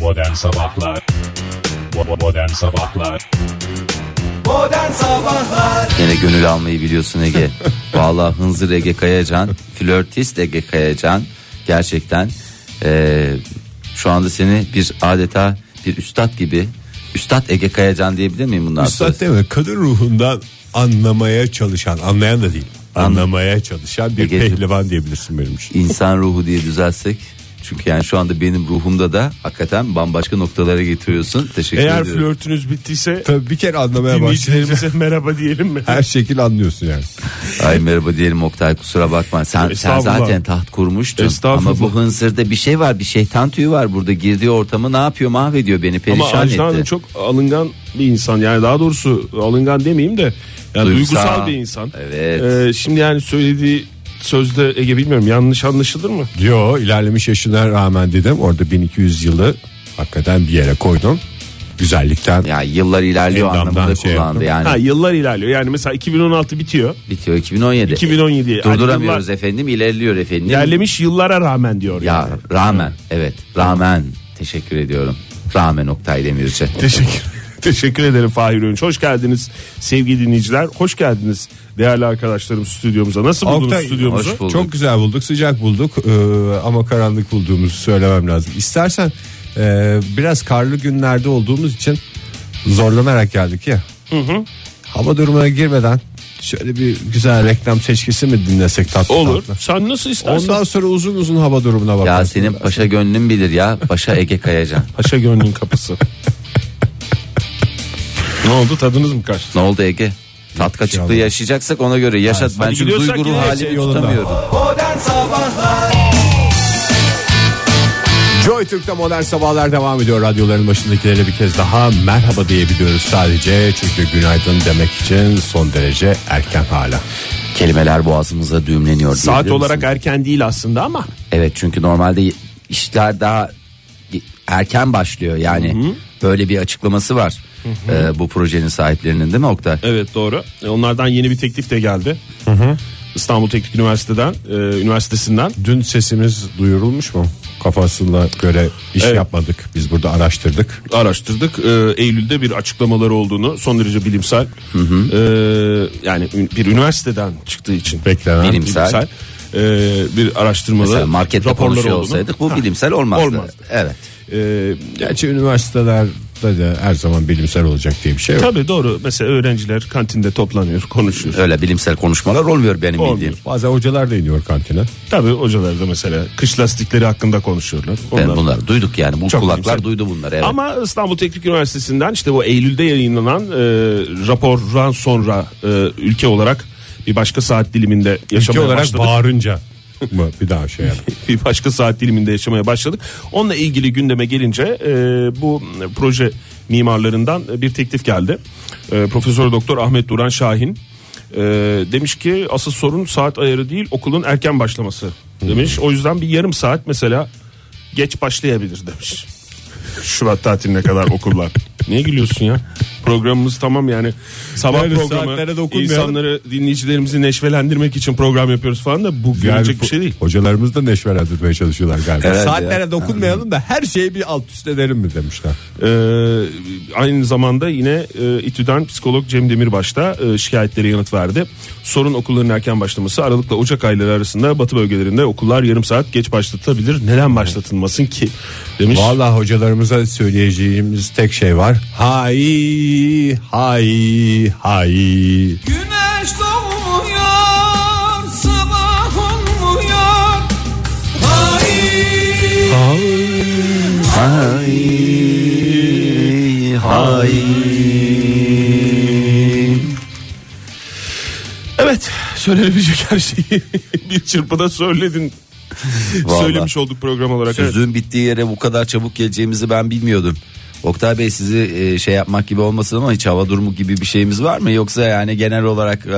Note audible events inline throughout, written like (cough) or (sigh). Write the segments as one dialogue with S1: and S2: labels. S1: Modern Sabahlar Bo- Modern Sabahlar
S2: Modern Sabahlar
S3: Yine gönül almayı biliyorsun Ege. Vallahi hınzır Ege Kayacan, flörtist Ege Kayacan gerçekten eee, şu anda seni bir adeta bir üstad gibi üstad Ege Kayacan diyebilir miyim bundan sonra?
S4: Üstad deme kadın ruhundan anlamaya çalışan anlayan da değil anlamaya çalışan bir
S3: Egeciğim.
S4: pehlivan diyebilirsin benim için.
S3: İnsan ruhu diye düzelsek. Çünkü yani şu anda benim ruhumda da hakikaten bambaşka noktalara getiriyorsun. Teşekkür
S5: Eğer
S3: ediyorum.
S5: flörtünüz
S3: (laughs)
S5: bittiyse
S4: Tabii bir kere anlamaya başlayınca
S5: dinleyicilerimize merhaba diyelim mi?
S4: her şekil anlıyorsun yani.
S3: Ay merhaba diyelim Oktay kusura bakma. Sen, sen
S5: Estağfurullah.
S3: zaten taht kurmuştun. Ama
S5: Estağfurullah.
S3: bu hınzırda bir şey var bir şeytan tüyü var burada girdiği ortamı ne yapıyor mahvediyor beni perişan
S5: Ama
S3: etti.
S5: Ajda Hanım çok alıngan bir insan yani daha doğrusu alıngan demeyeyim de yani
S3: Duygusal.
S5: duygusal. bir insan.
S3: Evet.
S5: Ee, şimdi yani söylediği sözde Ege bilmiyorum yanlış anlaşılır mı?
S4: Yo ilerlemiş yaşına rağmen dedim orada 1200 yılı hakikaten bir yere koydum. Güzellikten
S3: Ya yıllar ilerliyor
S4: Endamdan
S3: anlamında
S4: şey
S3: kullandı yani.
S5: Ha yıllar ilerliyor yani mesela 2016 bitiyor
S3: Bitiyor 2017.
S5: 2017 yani hani
S3: Durduramıyoruz
S5: yıllar-
S3: efendim ilerliyor efendim.
S5: ilerlemiş yıllara rağmen diyor.
S3: Ya
S5: yani. (laughs)
S3: rağmen evet rağmen teşekkür ediyorum. Rağmen Oktay Demirci.
S5: Teşekkür Teşekkür ederim Fahir Önç. Hoş geldiniz sevgili dinleyiciler. Hoş geldiniz değerli arkadaşlarım stüdyomuza. Nasıl buldunuz
S4: Oktay,
S5: stüdyomuzu?
S3: hoş bulduk.
S4: Çok güzel bulduk, sıcak bulduk Ee, ama karanlık bulduğumuzu söylemem lazım. İstersen e, biraz karlı günlerde olduğumuz için zorlanarak geldik ya. Hava durumuna girmeden şöyle bir güzel reklam seçkisi mi dinlesek tatlı
S5: Olur.
S4: tatlı.
S5: Sen nasıl istersen.
S4: Ondan sonra uzun uzun hava durumuna bakarız.
S3: Ya senin paşa gönlün bilir ya. Paşa Ege Kayacan.
S5: Paşa gönlün kapısı. ne oldu tadınız mı kaçtı?
S3: Ne oldu Ege? Tat kaçıklığı yaşayacaksak ona göre yaşat. Ben
S5: hadi
S3: çünkü
S5: gidiyorsak
S3: duygu ruh
S5: yine
S3: halini
S5: şey yolunda.
S3: tutamıyorum.
S2: Modern Sabahlar
S4: Joy Türk'te modern sabahlar devam ediyor. Radyoların başındakilere bir kez daha merhaba diyebiliyoruz sadece. Çünkü günaydın demek için son derece erken hala.
S3: Kelimeler boğazımıza düğümleniyor.
S5: Saat
S3: diyebilir
S5: olarak
S3: misin?
S5: erken değil aslında ama
S3: Evet çünkü normalde işler daha erken başlıyor yani. Böyle bir açıklaması var. Ee, bu projenin sahiplerinin değil mi Oktay?
S5: evet doğru. E, Onlardan yeni bir teklif de geldi. İstanbul Teknik Üniversiteden, e, üniversitesinden.
S4: Dün sesimiz duyurulmuş mu? Kafasına göre iş
S5: Evet.
S4: yapmadık. Biz burada araştırdık.
S5: araştırdık. Ee, Eylül'de bir açıklamaları olduğunu son derece bilimsel. Ee, yani ün- bir üniversiteden çıktığı için
S4: Beklenen.
S3: Bilim- Bilimsel.
S5: ee, bir araştırmalı
S3: Mesela markette
S5: raporları
S3: konuşuyor
S5: olduğunu-
S3: olsaydık bu
S5: Ha,
S3: bilimsel olmazdı.
S5: olmazdı.
S3: Evet.
S5: Ee,
S4: Gerçi üniversitelerde de her zaman bilimsel olacak diye bir şey yok.
S5: tabii doğru. Mesela öğrenciler kantinde toplanıyor, konuşuyor.
S3: Öyle bilimsel konuşmalar olmuyor benim
S5: Olmuyor.
S3: bildiğim.
S4: Bazen hocalar da iniyor kantine.
S5: Tabii hocalar da mesela kış lastikleri hakkında konuşuyorlar.
S3: Ben
S5: Onlar-
S3: bunları duyduk yani bu
S5: Çok
S3: kulaklar
S5: bilimsel.
S3: duydu bunları evet.
S5: Ama İstanbul Teknik Üniversitesi'nden işte bu Eylül'de yayınlanan e, rapordan sonra e, ülke olarak bir başka saat diliminde
S4: Ülke
S5: yaşamaya
S4: olarak
S5: başladık.
S4: bağırınca (laughs) mı bir daha şey yap.
S5: (laughs) bir başka saat diliminde yaşamaya başladık. Onunla ilgili gündeme gelince e, bu proje mimarlarından bir teklif geldi. E, Profesör Doktor Ahmet Duran Şahin e, demiş ki asıl sorun saat ayarı değil okulun erken başlaması demiş. O yüzden bir yarım saat mesela geç başlayabilir demiş. Şubat tatiline kadar okullar. (laughs) Niye gülüyorsun ya? Programımız tamam yani sabah
S4: Yani saatlere
S5: programı
S4: dokunmayalım.
S5: insanları dinleyicilerimizi neşvelendirmek için program yapıyoruz falan da bu
S4: Yani
S5: görecek
S4: bu-
S5: bir şey değil.
S4: Hocalarımız da neşvelendirmeye çalışıyorlar galiba.
S3: Herhalde
S4: Saatlere
S3: ya.
S4: dokunmayalım da her şeyi bir alt üst edelim mi demişler.
S5: Ee, aynı zamanda yine e, İTÜ'den psikolog Cem Demirbaş'ta e, şikayetlere yanıt verdi. Sorun okulların erken başlaması Aralık'la Ocak ayları arasında batı bölgelerinde okullar yarım saat geç başlatılabilir. Neden başlatılmasın ki demiş.
S4: Vallahi hocalarımıza söyleyeceğimiz tek şey var. Hay hay hay.
S2: Güneş doğmuyor Sabah olmuyor Hayır
S3: Hay, hay.
S5: Evet söylenebilecek her şeyi (laughs) bir çırpıda söyledin.
S3: Vallahi.
S5: Söylemiş olduk program olarak. Evet.
S3: Sözün bittiği yere bu kadar çabuk geleceğimizi ben bilmiyordum. Oktay Bey sizi e, şey yapmak gibi olmasın ama hiç hava durumu gibi bir şeyimiz var mı? Yoksa yani genel olarak e, e,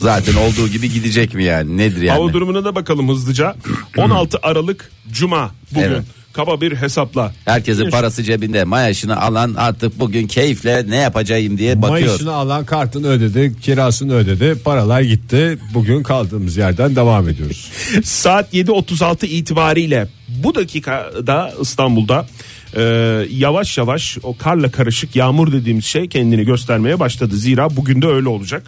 S3: zaten olduğu gibi gidecek mi yani? Nedir yani?
S5: Hava durumuna da bakalım hızlıca. (clears throat) 16 Aralık Cuma bugün.
S3: Evet.
S5: Kaba bir hesapla.
S3: Herkesin parası cebinde. Maaşını alan artık bugün keyifle ne yapacağım diye bakıyor.
S4: Mayışını alan kartını ödedi, kirasını ödedi,
S5: (laughs)
S4: paralar gitti. Bugün kaldığımız yerden devam ediyoruz.
S5: Saat 7.36 itibariyle bu dakikada İstanbul'da e, yavaş yavaş o karla karışık yağmur dediğimiz şey kendini göstermeye başladı. Zira bugün de öyle olacak.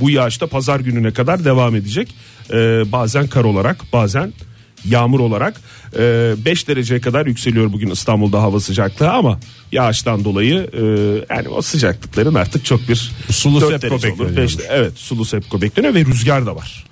S5: Bu yağış da pazar gününe kadar devam edecek. E, bazen kar olarak bazen yağmur olarak 5 dereceye kadar yükseliyor bugün İstanbul'da hava sıcaklığı ama yağıştan dolayı e, yani o sıcaklıkların artık çok bir
S4: Sulu
S5: dört
S4: sepko
S5: derece olur,
S4: bekleniyor.
S5: beş de- evet sulu sepko bekleniyor ve rüzgar da var.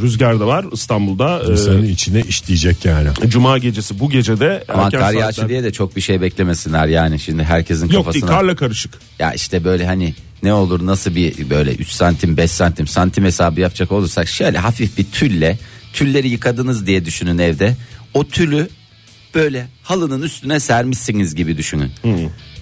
S5: Rüzgar da var İstanbul'da.
S3: Ee,
S5: e,
S4: İnsanın içine işleyecek yani.
S5: Cuma gecesi bu gecede
S3: Ama
S5: erken
S3: kar
S5: saatler-
S3: yağışı diye de çok bir şey beklemesinler yani şimdi herkesin
S5: Yok değil
S3: kafasına.
S5: karla karışık.
S3: Ya işte böyle hani ne olur nasıl bir böyle 3 santim 5 santim santim hesabı yapacak olursak şöyle hafif bir tülle tülleri yıkadınız diye düşünün evde. O tülü böyle halının üstüne sermişsiniz gibi düşünün.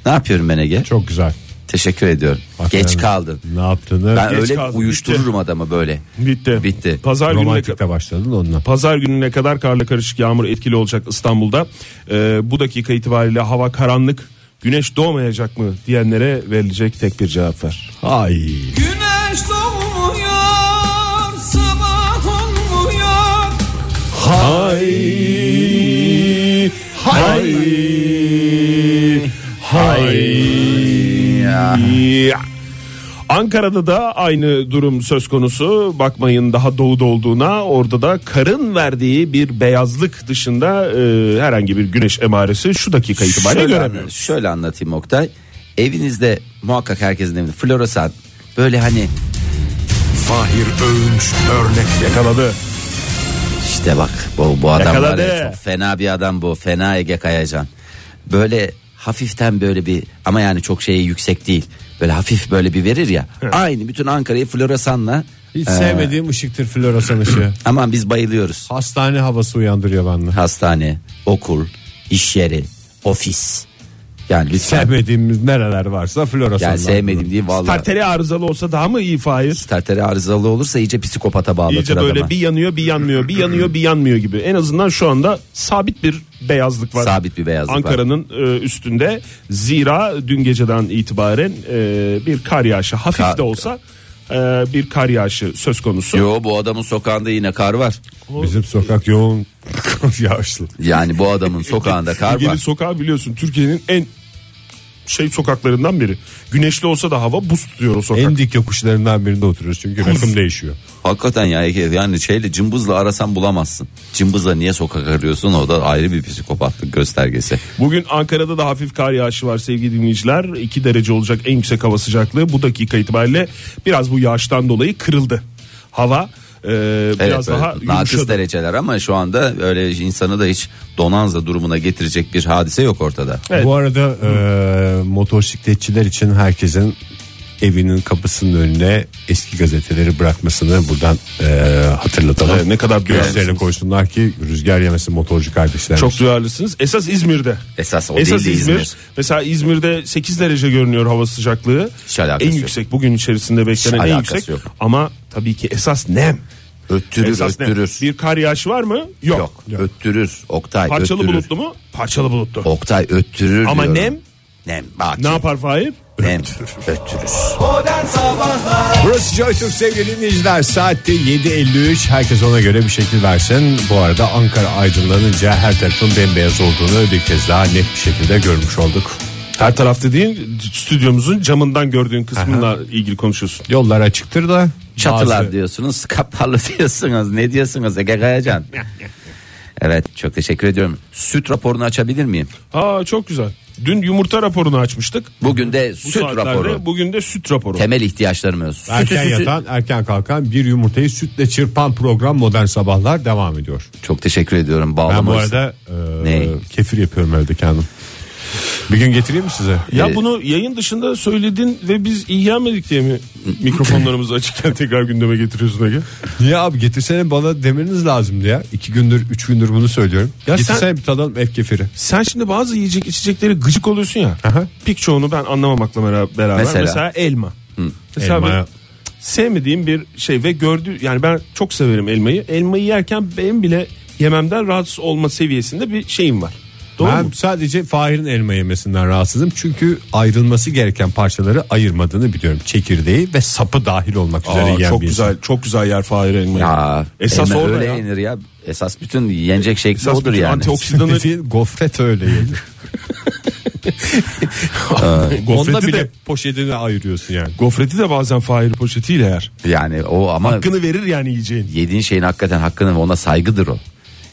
S3: Ne yapıyorum ben Ege?
S4: Çok güzel.
S3: Teşekkür ediyorum.
S4: Hakikaten
S3: Geç kaldın.
S4: Ne yaptığını
S3: Ben
S5: Geç
S3: öyle
S5: kaldın,
S3: uyuştururum adamı böyle.
S5: Bitti.
S3: Bitti.
S5: Pazar gününe kadar.
S4: romantikte başladın onunla.
S5: Pazar gününe kadar karla karışık yağmur etkili olacak İstanbul'da. Ee, bu dakika itibariyle hava karanlık. Güneş doğmayacak mı diyenlere verilecek tek bir cevap var.
S4: Ay.
S2: Güneş doğmuyor, sabah olmuyor.
S5: Hay. Hay. Ankara'da da aynı durum söz konusu. Bakmayın daha doğuda olduğuna. Orada da karın verdiği bir beyazlık dışında e, herhangi bir güneş emaresi şu dakika itibariyle
S3: şöyle,
S5: göremiyoruz.
S3: anla- şöyle anlatayım Oktay. Evinizde muhakkak herkesin evinde floresan böyle hani
S6: Fahir Öğünç örnek verir.
S5: Yakaladı.
S3: İşte bak bu, bu adam
S5: Yakaladı.
S3: var ya, çok fena bir adam bu fena Ege Kayacan. Böyle hafiften böyle bir ama yani çok şeyi yüksek değil. Böyle hafif böyle bir verir ya. Aynı bütün Ankara'yı floresanla e,
S4: Hiç sevmediğim ışıktır floresan ışığı.
S3: aman biz bayılıyoruz.
S4: Hastane havası uyandırıyor bende.
S3: Hastane, okul, iş yeri, ofis. Yani lütfen.
S4: Sevmediğimiz nereler varsa floresan.
S3: yani sevmediğim değil vallahi.
S5: Tarteli arızalı olsa daha mı iyi Fahir?
S3: Starter'e arızalı olursa iyice psikopata bağlatır
S5: İyice böyle
S3: adama.
S5: bir yanıyor bir yanmıyor bir yanıyor bir yanmıyor gibi. En azından şu anda sabit bir beyazlık var.
S3: Sabit bir beyazlık var.
S5: Ankara'nın e, üstünde. Zira dün geceden itibaren e, bir kar yağışı hafif
S3: Kar-
S5: de olsa e, bir kar yağışı söz konusu.
S3: Yo bu adamın sokağında yine kar var.
S4: Bizim sokak yoğun (laughs) yağışlı.
S3: Yani bu
S5: (laughs)
S3: adamın sokağında kar
S5: Ege'nin
S3: var.
S5: sokağı biliyorsun Türkiye'nin en şey sokaklarından biri. Güneşli olsa da hava buz tutuyor o sokak.
S4: En dik yokuşlarından birinde oturuyoruz çünkü rakım değişiyor.
S3: Hakikaten ya yani şeyle cımbızla arasan bulamazsın. Cımbızla niye sokak arıyorsun o da ayrı bir psikopatlık göstergesi.
S5: Bugün Ankara'da da hafif kar yağışı var sevgili dinleyiciler. 2 derece olacak en yüksek hava sıcaklığı. Bu dakika itibariyle biraz bu yağıştan dolayı kırıldı. Hava e, biraz
S3: evet,
S5: daha
S3: evet, nakıs
S5: yumuşadı.
S3: dereceler ama şu anda öyle insanı da hiç donanza durumuna getirecek bir hadise yok ortada.
S5: Evet.
S4: Bu arada e, motosikletçiler için herkesin evinin kapısının önüne eski gazeteleri bırakmasını buradan e, hatırlatalım.
S5: Evet, ne kadar
S4: gözlerine
S5: duyarlısınız.
S4: koysunlar ki rüzgar yemesin motorcu kardeşler.
S5: Çok duyarlısınız. Esas İzmir'de.
S3: Esas o
S5: Esas
S3: değil de
S5: İzmir.
S3: İzmir.
S5: Mesela İzmir'de 8 derece görünüyor hava sıcaklığı.
S3: Hiç alakası
S5: en
S3: yok.
S5: yüksek bugün içerisinde beklenen en
S3: alakası
S5: yüksek.
S3: yok.
S5: Ama tabii ki esas nem.
S3: Öttürür
S5: esas nem.
S3: öttürür.
S5: Bir kar yağışı var mı? Yok.
S3: Yok, öttürür Oktay
S5: Parçalı
S3: öttürür.
S5: bulutlu mu? Parçalı bulutlu.
S3: Oktay öttürür
S5: Ama
S3: diyorum.
S5: nem?
S3: Nem bak.
S5: Ne yapar Fahir?
S3: Nem öttürür.
S2: Modern Sabahlar
S4: Burası Joytürk sevgili dinleyiciler. Saatte 7.53. Herkes ona göre bir şekil versin. Bu arada Ankara aydınlanınca her tarafın bembeyaz olduğunu bir kez daha net bir şekilde görmüş olduk.
S5: Her taraf dediğin stüdyomuzun camından gördüğün kısmıyla ilgili konuşuyorsun.
S4: Yollar açıktır da.
S3: Çatılar
S4: bazı-
S3: diyorsunuz, (laughs) kapalı diyorsunuz. Ne diyorsunuz Ege
S5: (laughs)
S3: Kayacan? evet, çok teşekkür ediyorum. Süt raporunu açabilir miyim?
S5: Aa çok güzel. Dün yumurta raporunu açmıştık.
S3: Bugün de
S5: Bu
S3: süt
S5: saatlerde
S3: raporu.
S5: Bugün de süt raporu.
S3: Temel ihtiyaçlarımız. Sütü
S4: Erken
S3: sütü-
S4: yatan, erken kalkan bir yumurtayı sütle çırpan program Modern Sabahlar devam ediyor.
S3: Çok teşekkür ediyorum.
S4: Ben
S3: Bağlama
S4: bu
S3: arası-
S4: arada e,
S3: Ne?
S4: kefir yapıyorum evde kendim. Bir gün getireyim mi size?
S5: ya
S3: Ee,
S5: bunu yayın dışında söyledin ve biz ilgilenmedik diye mi mikrofonlarımızı açıkken (laughs) tekrar gündeme getiriyorsun Ege?
S4: Niye abi getirsene bana demeniz lazımdı ya. İki gündür, üç gündür bunu söylüyorum.
S5: Ya
S4: getirsene
S5: sen-
S4: bir tadalım ev kefiri.
S5: Sen şimdi bazı yiyecek içecekleri gıcık oluyorsun ya.
S4: Aha.
S5: Pek çoğunu ben anlamamakla mera- beraber. Mesela,
S3: Mesela?
S5: elma. Mesela
S4: Elmaya-
S5: ben sevmediğim bir şey ve gördü yani ben çok severim elmayı. Elmayı yerken benim bile yememden rahatsız olma seviyesinde bir şeyim var. Doğru
S4: ben
S5: mu?
S4: sadece Fahir'in elma yemesinden rahatsızım. Çünkü ayrılması gereken parçaları ayırmadığını biliyorum. Çekirdeği ve sapı dahil olmak üzere
S5: Aa,
S4: yiyen
S5: çok
S4: bir
S5: güzel çok güzel yer Fahir elmayı.
S3: Ya,
S5: Esas
S3: elma
S5: orada
S3: öyle
S5: ya.
S3: yenir ya. Esas bütün yenecek şekli
S5: Esas
S3: odur
S5: bir
S3: yani.
S5: antioksidanı
S4: Dediğin gofret öyle (laughs) yenir. Onda
S5: gofreti
S4: bile
S5: de
S4: poşetini ayırıyorsun yani.
S5: gofreti de bazen fail poşetiyle yer.
S3: Yani o ama
S5: Hakkını verir yani yiyeceğin.
S3: yediğin şeyin hakikaten hakkını ve ona saygıdır o.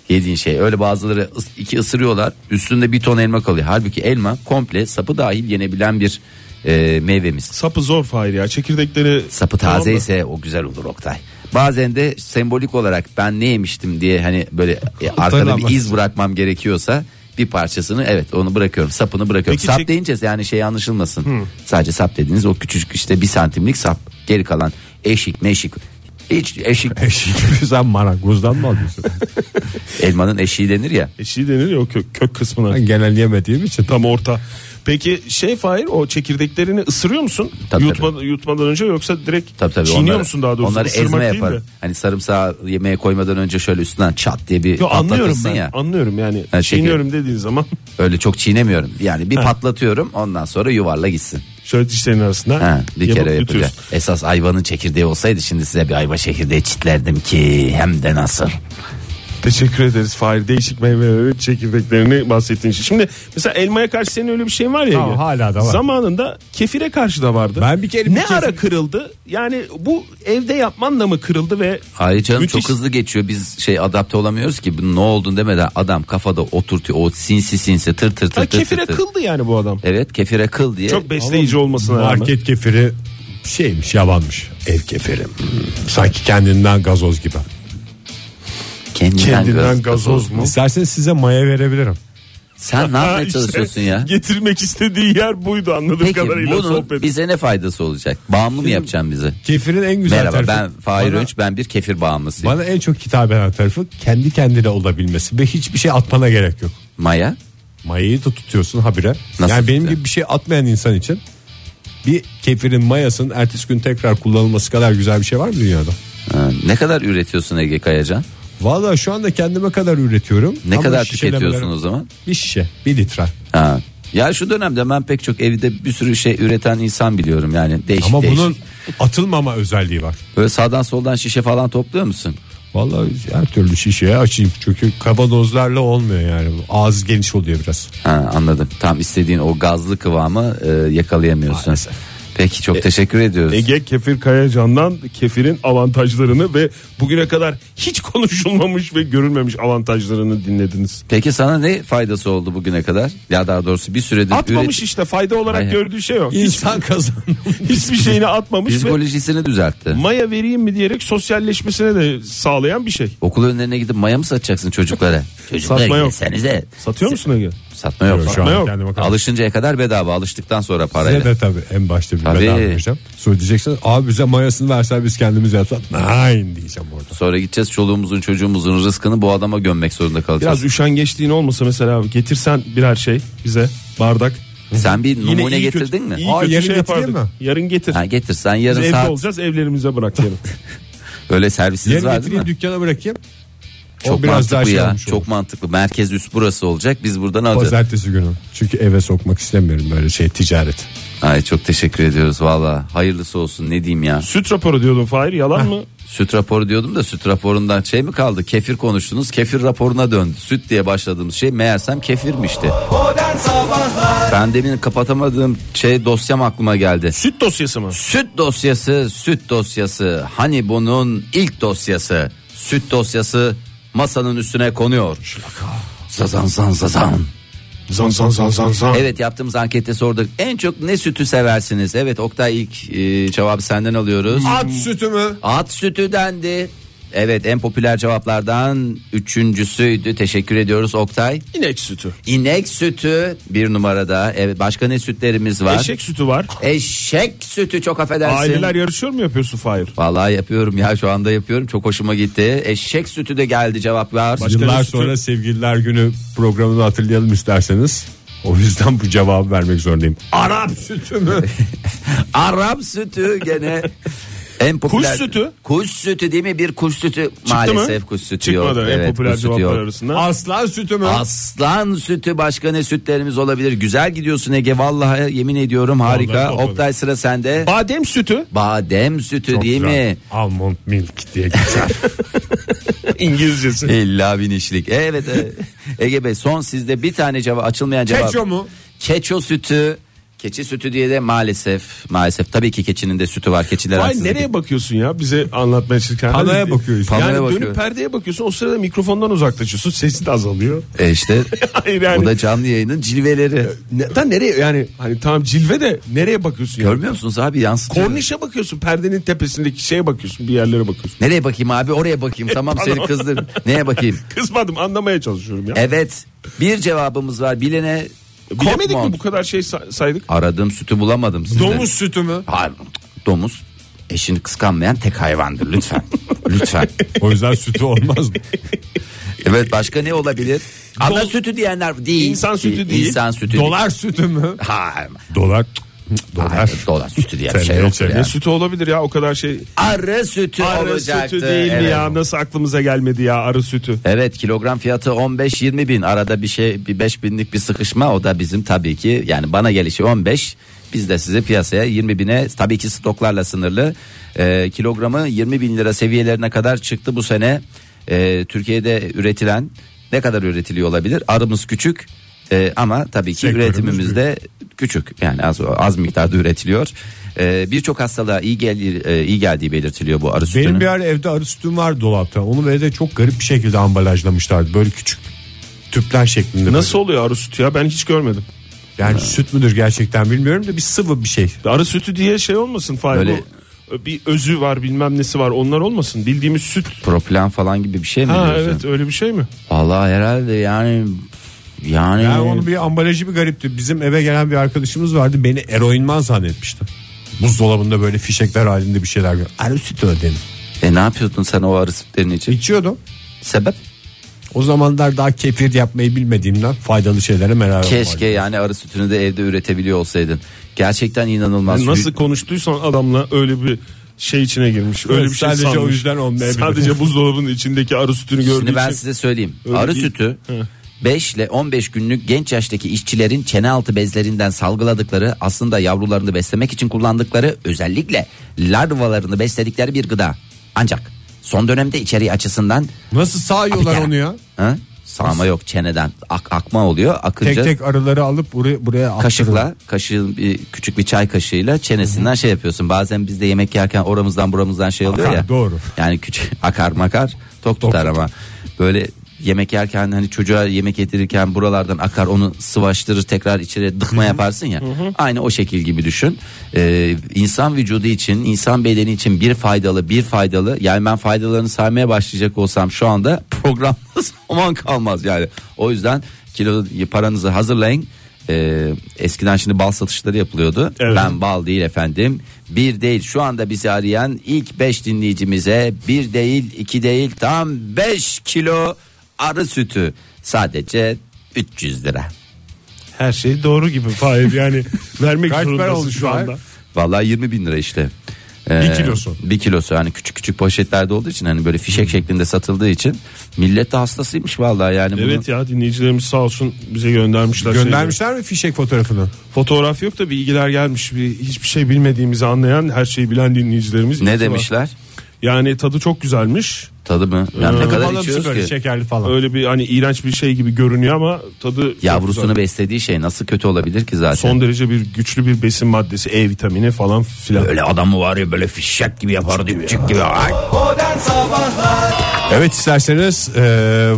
S3: Yediğin şey öyle bazıları ıs- iki ısırıyorlar üstünde bir ton elma kalıyor. Halbuki elma komple sapı dahil yenebilen bir e, meyvemiz.
S5: Sapı zor Fahir ya. Çekirdekleri
S3: Sapı
S5: Tamam
S3: taze
S5: da-
S3: ise o güzel olur Oktay. Bazen de sembolik olarak ben ne yemiştim diye hani böyle e, arkada bir
S4: Hatırlamak
S3: iz bırakmam gerekiyorsa bir parçasını evet onu bırakıyorum sapını bırakıyorum.
S5: Peki
S3: sap
S5: çek-
S3: deyince yani şey anlaşılmasın. Sadece sap dediğiniz o küçücük işte bir santimlik sap geri kalan eşik meşik hiç
S5: (laughs)
S3: eşik
S4: Sen marangozdan mı alıyorsun?
S3: elmanın eşiği denir ya.
S5: Eşiği denir ya o kök, kök kısmına.
S4: ben genel yemediğim için.
S5: Tam orta. Peki şey Fahir o çekirdeklerini ısırıyor musun?
S3: Tabii,
S5: Yutma- Yutmadan önce yoksa direkt
S3: Tabii tabii.
S5: çiğniyor
S3: onları-
S5: musun daha doğrusu?
S3: Onları
S5: Isırmak
S3: ezme
S5: değil
S3: yapar.
S5: de.
S3: Hani sarımsağı yemeğe koymadan önce şöyle üstünden çat diye bir
S5: Yo, anlıyorum
S3: patlatırsın
S5: ben.
S3: ya.
S5: Anlıyorum yani.
S3: Ha, çekirdek.
S5: çiğniyorum dediğin zaman (laughs)
S3: Öyle çok çiğnemiyorum. Yani bir patlatıyorum ondan sonra yuvarla gitsin.
S5: şöyle dişlerin arasında
S3: Ha, bir
S5: yapıp
S3: kere yapacağım.
S5: yutuyorsun.
S3: Esas ayvanın çekirdeği olsaydı şimdi size bir ayva çekirdeği çitlerdim ki hem de nasıl.
S5: Teşekkür ederiz Fahir. Değişik meyveleri çekirdeklerini bahsettiğin için. Şimdi mesela elmaya karşı senin öyle bir şeyin var ya.
S4: Tamam,
S5: Ege.
S4: hala da var.
S5: Zamanında kefire karşı da vardı.
S4: Ben bir kere bir
S5: Ne
S4: kefir-
S5: ara kırıldı? Yani bu evde yapmanla mı kırıldı ve
S3: Hayır canım
S5: Müthiş.
S3: çok hızlı geçiyor. Biz şey adapte olamıyoruz ki. Bunun ne olduğunu demeden adam kafada oturtuyor. O sinsi sinsi tır tır
S5: ha,
S3: tır tır
S5: kefire
S3: tır. tır.
S5: kıldı yani bu adam.
S3: Evet kefire kıl diye.
S5: Çok besleyici olmasına rağmen.
S4: Market kefiri şeymiş yalanmış. Ev kefiri. Hmm, Sanki kendinden gazoz gibi.
S3: kendinden,
S5: Kendinden
S3: gaz-
S5: gazoz mu?
S4: İsterseniz size maya verebilirim.
S3: Sen ne
S5: Ha,
S3: yapmaya
S5: işte,
S3: çalışıyorsun ya?
S5: Getirmek istediği yer buydu anladığım
S3: Peki
S5: kadarıyla
S3: bunun
S5: sohbet.
S3: bize ne faydası olacak? Bağımlı mı yapacaksın bizi?
S4: Kefirin en güzel
S3: Merhaba
S4: tarafı.
S3: ben Fahir
S4: Bana-
S3: Önç ben bir kefir bağımlısıyım.
S4: Bana en çok hitap eden tarafı kendi kendine olabilmesi ve hiçbir şey atmana gerek yok.
S3: Maya
S4: Mayayı da tutuyorsun habire.
S3: Nasıl
S4: yani benim
S3: tutuyor?
S4: gibi bir şey atmayan insan için bir kefirin mayasının ertesi gün tekrar kullanılması kadar güzel bir şey var mı dünyada?
S3: ha, ne kadar üretiyorsun Ege Kayacan?
S4: Vallahi şu anda kendime kadar üretiyorum.
S3: Ne
S4: Ama
S3: kadar
S4: şişelemelerim-
S3: tüketiyorsun o zaman?
S4: Bir şişe, bir litre.
S3: Ha. Ya şu dönemde ben pek çok evde bir sürü şey üreten insan biliyorum yani değişik
S4: Ama
S3: değişik.
S4: bunun atılmama özelliği var.
S3: Böyle sağdan soldan şişe falan topluyor musun?
S4: Vallahi her türlü şişeye açayım. Çünkü kavanozlarla olmuyor yani. Ağız geniş oluyor biraz.
S3: Ha, anladım tam istediğin o gazlı kıvamı e, yakalayamıyorsun.
S4: Maalesef.
S3: Peki çok teşekkür ediyoruz.
S5: Ege Kefir Kayacan'dan kefirin avantajlarını ve bugüne kadar hiç konuşulmamış ve görülmemiş avantajlarını dinlediniz.
S3: Peki sana ne faydası oldu bugüne kadar? Ya daha doğrusu bir süredir
S5: Atmamış
S3: üret-
S5: işte fayda olarak
S3: Hayır.
S5: gördüğü şey yok.
S4: İnsan (laughs) kazandı.
S5: Hiçbir şeyini atmamış ve
S3: psikolojisini düzeltti.
S5: maya vereyim mi diyerek sosyalleşmesine de sağlayan bir şey.
S3: Okul önlerine gidip maya mı satacaksın çocuklara? Çocuklara
S5: Satma yok.
S3: gelsenize.
S5: Satıyor musun Ege?
S3: Satma yok.
S4: Şu
S5: Yok.
S4: an kendime kadar.
S3: Alışıncaya kadar bedava alıştıktan sonra
S4: Size
S3: parayla.
S4: de tabii en başta bir
S3: Tabii.
S4: bedava vereceğim. Sonra diyeceksin abi bize mayasını versen biz kendimiz yapsak. Nein diyeceğim orada.
S3: Sonra gideceğiz çoluğumuzun çocuğumuzun rızkını bu adama gömmek zorunda kalacağız.
S5: Biraz üşengeçliğin olmasa mesela abi getirsen birer şey bize bardak.
S3: Sen bir
S5: Yine
S3: numune
S5: iyi
S3: getirdin
S5: kötü-
S3: mi?
S5: iyi
S4: Aa,
S5: kötü
S4: yarın
S5: şey
S4: getireyim
S5: yapardık.
S4: mi?
S5: Yarın getir.
S3: Ha, getirsen
S5: Biz
S3: yarın
S5: evde
S3: saat
S5: olacağız evlerimize bırak
S3: (laughs)
S5: yarın.
S3: öyle servisiniz
S4: Yarın
S3: var değil
S4: getireyim
S3: mi?
S4: dükkana bırakayım.
S3: Çok
S4: biraz daha
S3: mantıklı
S4: şey
S3: ya.
S4: olmuş olur.
S3: Çok mantıklı. Merkez üst burası olacak. Biz buradan alacağız.
S4: Pazartesi günü. Çünkü eve sokmak istemiyorum böyle şey ticaret.
S3: Ay çok teşekkür ediyoruz valla. Hayırlısı olsun ne diyeyim ya.
S5: Süt raporu diyordun Fahir yalan mı?
S3: Süt raporu diyordum da süt raporundan şey mi kaldı? Kefir konuştunuz. Kefir raporuna döndü. Süt diye başladığımız şey meğersem kefirmişti.
S2: Modern Sabahlar
S3: Ben demin kapatamadığım şey dosyam aklıma geldi.
S5: Süt dosyası mı?
S3: Süt dosyası, süt dosyası. Hani bunun ilk dosyası. Süt dosyası masanın üstüne konuyor. Zazan zan zazan.
S5: Zan zan zan zan zan.
S3: Evet yaptığımız ankette sorduk. En çok ne sütü seversiniz? Evet Oktay ilk e, cevabı senden alıyoruz.
S5: Hmm.
S4: At sütümü.
S3: At sütü dendi. Evet en popüler cevaplardan üçüncüsüydü. Teşekkür ediyoruz Oktay.
S5: İnek sütü.
S3: İnek sütü bir numarada. Evet başka ne sütlerimiz var?
S5: Eşek sütü var.
S3: Eşek sütü çok affedersin.
S5: Aileler yarışıyor mu yapıyorsun Fahir?
S3: Vallahi yapıyorum ya şu anda yapıyorum. Çok hoşuma gitti. Eşek sütü de geldi cevaplar.
S4: Yıllar
S5: bir sütü-
S4: sonra sevgililer günü programını hatırlayalım isterseniz. O yüzden
S3: (laughs)
S4: bu cevabı vermek zorundayım. Arap sütümü.
S3: Arap sütü gene. En popüler,
S5: Kuş sütü.
S3: Kuş sütü değil mi? Bir kuş sütü. Maalesef
S5: mı?
S3: kuş sütü yok.
S5: Çıkmadı en
S3: Evet,
S5: popüler
S3: kuş sütü
S5: cevaplar
S3: yok.
S5: arasında.
S4: Aslan sütü mü?
S3: Aslan sütü başka ne sütlerimiz olabilir? Güzel gidiyorsun Ege vallahi yemin ediyorum harika.
S4: topladım.
S3: Oktay sıra sende.
S5: Badem
S3: (laughs)
S5: sütü
S3: Badem sütü değil
S4: Güzel.
S3: mi?
S4: Almond milk diye geçer.
S5: İngilizcesi.
S3: İlla bin işlik. Evet.
S5: (laughs)
S3: evet. Ege Bey son sizde bir tane cevap açılmayan cevap.
S4: Keço mu?
S3: Keço sütü. Keçi sütü diye de maalesef maalesef tabii ki keçinin de sütü var. Keçiler
S5: Vay
S3: haksızlık-
S5: nereye bakıyorsun ya bize anlatmaya çalışırken?
S4: Panoya bakıyor işte.
S5: Yani
S3: Panoya bakıyor.
S5: dönüp perdeye bakıyorsun o sırada mikrofondan uzaklaşıyorsun sesi de azalıyor.
S3: E işte
S5: (laughs) Hayır yani.
S3: bu da canlı yayının cilveleri.
S5: Neden nereye yani hani tamam cilve de nereye bakıyorsun ya?
S3: Görmüyor musunuz abi yansıtıyor.
S5: Kornişe bakıyorsun perdenin tepesindeki şeye bakıyorsun bir yerlere bakıyorsun.
S3: Nereye bakayım abi
S5: (laughs)
S3: oraya bakayım tamam seni kızdır. Neye bakayım?
S5: Kızmadım anlamaya çalışıyorum ya.
S3: Evet bir cevabımız var bilene
S5: Bilemedik mi
S3: Korkmont.
S5: bu kadar şey say- saydık?
S3: Aradım sütü bulamadım sizde.
S4: Domuz sütü mü?
S3: Hayır, domuz eşini kıskanmayan tek hayvandır lütfen.
S5: (laughs)
S3: lütfen.
S4: O yüzden sütü olmaz.
S3: Evet başka ne olabilir? Ana sütü diyenler değil.
S5: İnsan sütü değil.
S3: İnsan sütü değil.
S4: Dolar sütü mü?
S5: E,
S3: Hayır.
S4: Dolar. Dolar.
S3: Hayır, dolar sütü diye bir
S4: Sen
S3: şey
S4: ne
S3: yok.
S4: içersin?
S5: Ne sütü olabilir ya o kadar şey.
S3: Arı sütü
S5: Arı
S3: olacaktı.
S5: sütü değil mi
S3: evet.
S5: ya nasıl aklımıza gelmedi ya arı sütü.
S3: Evet kilogram fiyatı 15-20 bin arada bir şey bir 5 binlik bir sıkışma o da bizim tabii ki yani bana gelişi 15 biz de sizi piyasaya 20 bine tabii ki stoklarla sınırlı Ee, kilogramı 20 bin lira seviyelerine kadar çıktı bu sene Ee, Türkiye'de üretilen ne kadar üretiliyor olabilir arımız küçük ee, ama tabii ki
S4: Sektörümüz
S3: üretimimiz de küçük yani az az miktarda üretiliyor Ee, birçok hastalığa iyi gel e, iyi geldiği belirtiliyor bu arı sütünün.
S4: Benim bir ara evde arı sütüm var dolapta. Onu böyle de çok garip bir şekilde ambalajlamışlardı. Böyle küçük tüpler şeklinde.
S5: Nasıl oluyor arı sütü ya ben hiç görmedim.
S4: böyle. Yani süt müdür gerçekten bilmiyorum da bir sıvı bir şey.
S5: Arı sütü diye şey olmasın Fahir.
S3: Böyle-
S5: Bu, Bir özü var bilmem nesi var onlar olmasın. Bildiğimiz süt.
S3: Propilen falan gibi bir şey mi
S5: Ha
S3: diyorsun?
S5: evet öyle bir şey mi?
S3: Valla herhalde yani yani,
S4: Yani onun bir ambalajı bir garipti. Bizim eve gelen bir arkadaşımız vardı. Beni eroinman zannetmişti. Buzdolabında böyle fişekler halinde bir şeyler gör. Arı sütü ödedim.
S3: e ne yapıyordun sen o arı sütlerini için?
S4: İçiyordum.
S3: Sebep?
S4: O zamanlar daha kefir yapmayı bilmediğimden faydalı şeylere merak
S3: Keşke yani arı sütünü de evde üretebiliyor olsaydın. Gerçekten inanılmaz.
S5: E, Nasıl konuştuysan adamla öyle bir şey içine girmiş. Öyle bir şey
S4: Sadece
S5: sanmış.
S4: o yüzden olmayabilir.
S5: Sadece buzdolabının içindeki arı sütünü gördüğü
S3: Şimdi ben
S4: şey-
S5: için.
S3: size söyleyeyim.
S5: Öyle
S3: arı
S5: değil.
S3: sütü 5 ile 15 günlük genç yaştaki işçilerin çene altı bezlerinden salgıladıkları aslında yavrularını beslemek için kullandıkları özellikle larvalarını besledikleri bir gıda. Ancak son dönemde içeriği açısından
S4: Nasıl sağıyorlar
S3: Abi,
S4: onu ya?
S3: ha? sağma yok çeneden ak, akma oluyor akınca.
S4: Tek tek arıları alıp buraya buraya
S3: kaşıkla kaşığın bir, küçük bir çay kaşığıyla çenesinden şey yapıyorsun. Bazen biz de yemek yerken oramızdan buramızdan şey oluyor
S4: Akar,
S3: ya.
S4: doğru.
S3: Yani küçük (laughs) akar makar tok tutar ama böyle yemek yerken hani çocuğa yemek yedirirken buralardan akar onu sıvaştırır tekrar içeri dıkma yaparsın ya. Aynı o şekil gibi düşün. Ee, insan vücudu için, insan bedeni için bir faydalı, bir faydalı. Yani ben faydalarını saymaya başlayacak olsam şu anda programda (laughs) zaman kalmaz yani. O yüzden kilo paranızı hazırlayın. Ee, eskiden şimdi bal satışları yapılıyordu.
S5: Evet.
S3: Ben bal değil efendim. Bir değil şu anda bizi arayan ilk 5 dinleyicimize bir değil iki değil tam 5 kilo arı sütü sadece 300 lira.
S5: Her şey doğru gibi Fahir yani vermek
S4: Kaç para
S5: zorundasın
S4: oldu
S5: şu
S4: şu an?
S5: anda.
S3: Vallahi 20 bin lira işte. Ee,
S4: Bir kilosu.
S3: Bir kilosu hani küçük küçük poşetlerde olduğu için hani böyle fişek şeklinde satıldığı için millet de hastasıymış vallahi yani. bunu-
S5: Evet ya dinleyicilerimiz sağ olsun bize göndermişler. şeyleri.
S4: Göndermişler mi fişek fotoğrafını?
S5: Fotoğraf yok da bilgiler gelmiş. Bir, hiçbir şey bilmediğimizi anlayan her şeyi bilen dinleyicilerimiz. iyi
S3: Ne
S5: ki var.
S3: demişler?
S5: Yani tadı çok güzelmiş.
S3: Tadı mı?
S5: Ee,
S3: Yani ne kadar
S4: Kapalı mısın böyle
S3: içiyoruz ki?
S4: şekerli falan.
S5: Öyle bir hani iğrenç bir şey gibi görünüyor ama tadı çok
S3: Yavrusunu
S5: güzel.
S3: beslediği şey nasıl kötü olabilir ki zaten?
S5: son derece bir güçlü bir besin maddesi E vitamini falan filan.
S3: Öyle adamı var ya böyle fişek gibi yapar dipçik gibi. Ay.
S2: Modern Sabahlar
S4: Evet isterseniz e,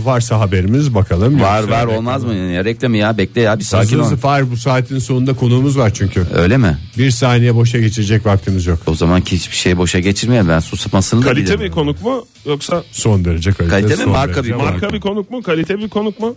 S4: varsa haberimiz bakalım.
S3: Var
S4: Yoksa
S3: var
S4: bekle.
S3: olmaz mı? Ya, reklamı ya bekle ya bir sakin
S4: Hızlı
S3: ol.
S4: hızlı Fahir bu saatin sonunda konuğumuz var çünkü.
S3: Öyle mi?
S4: Bir saniye boşa geçirecek vaktimiz yok.
S3: O zaman ki hiçbir şey boşa geçirmeyelim ben susmasını da
S5: Kalite
S3: bilirim.
S5: bir konuk mu yoksa
S4: Son derece kalite.
S3: Kalite mi?
S4: son
S3: Marka
S4: derece.
S3: bir-
S5: marka bir konuk mu kalite bir konuk mu?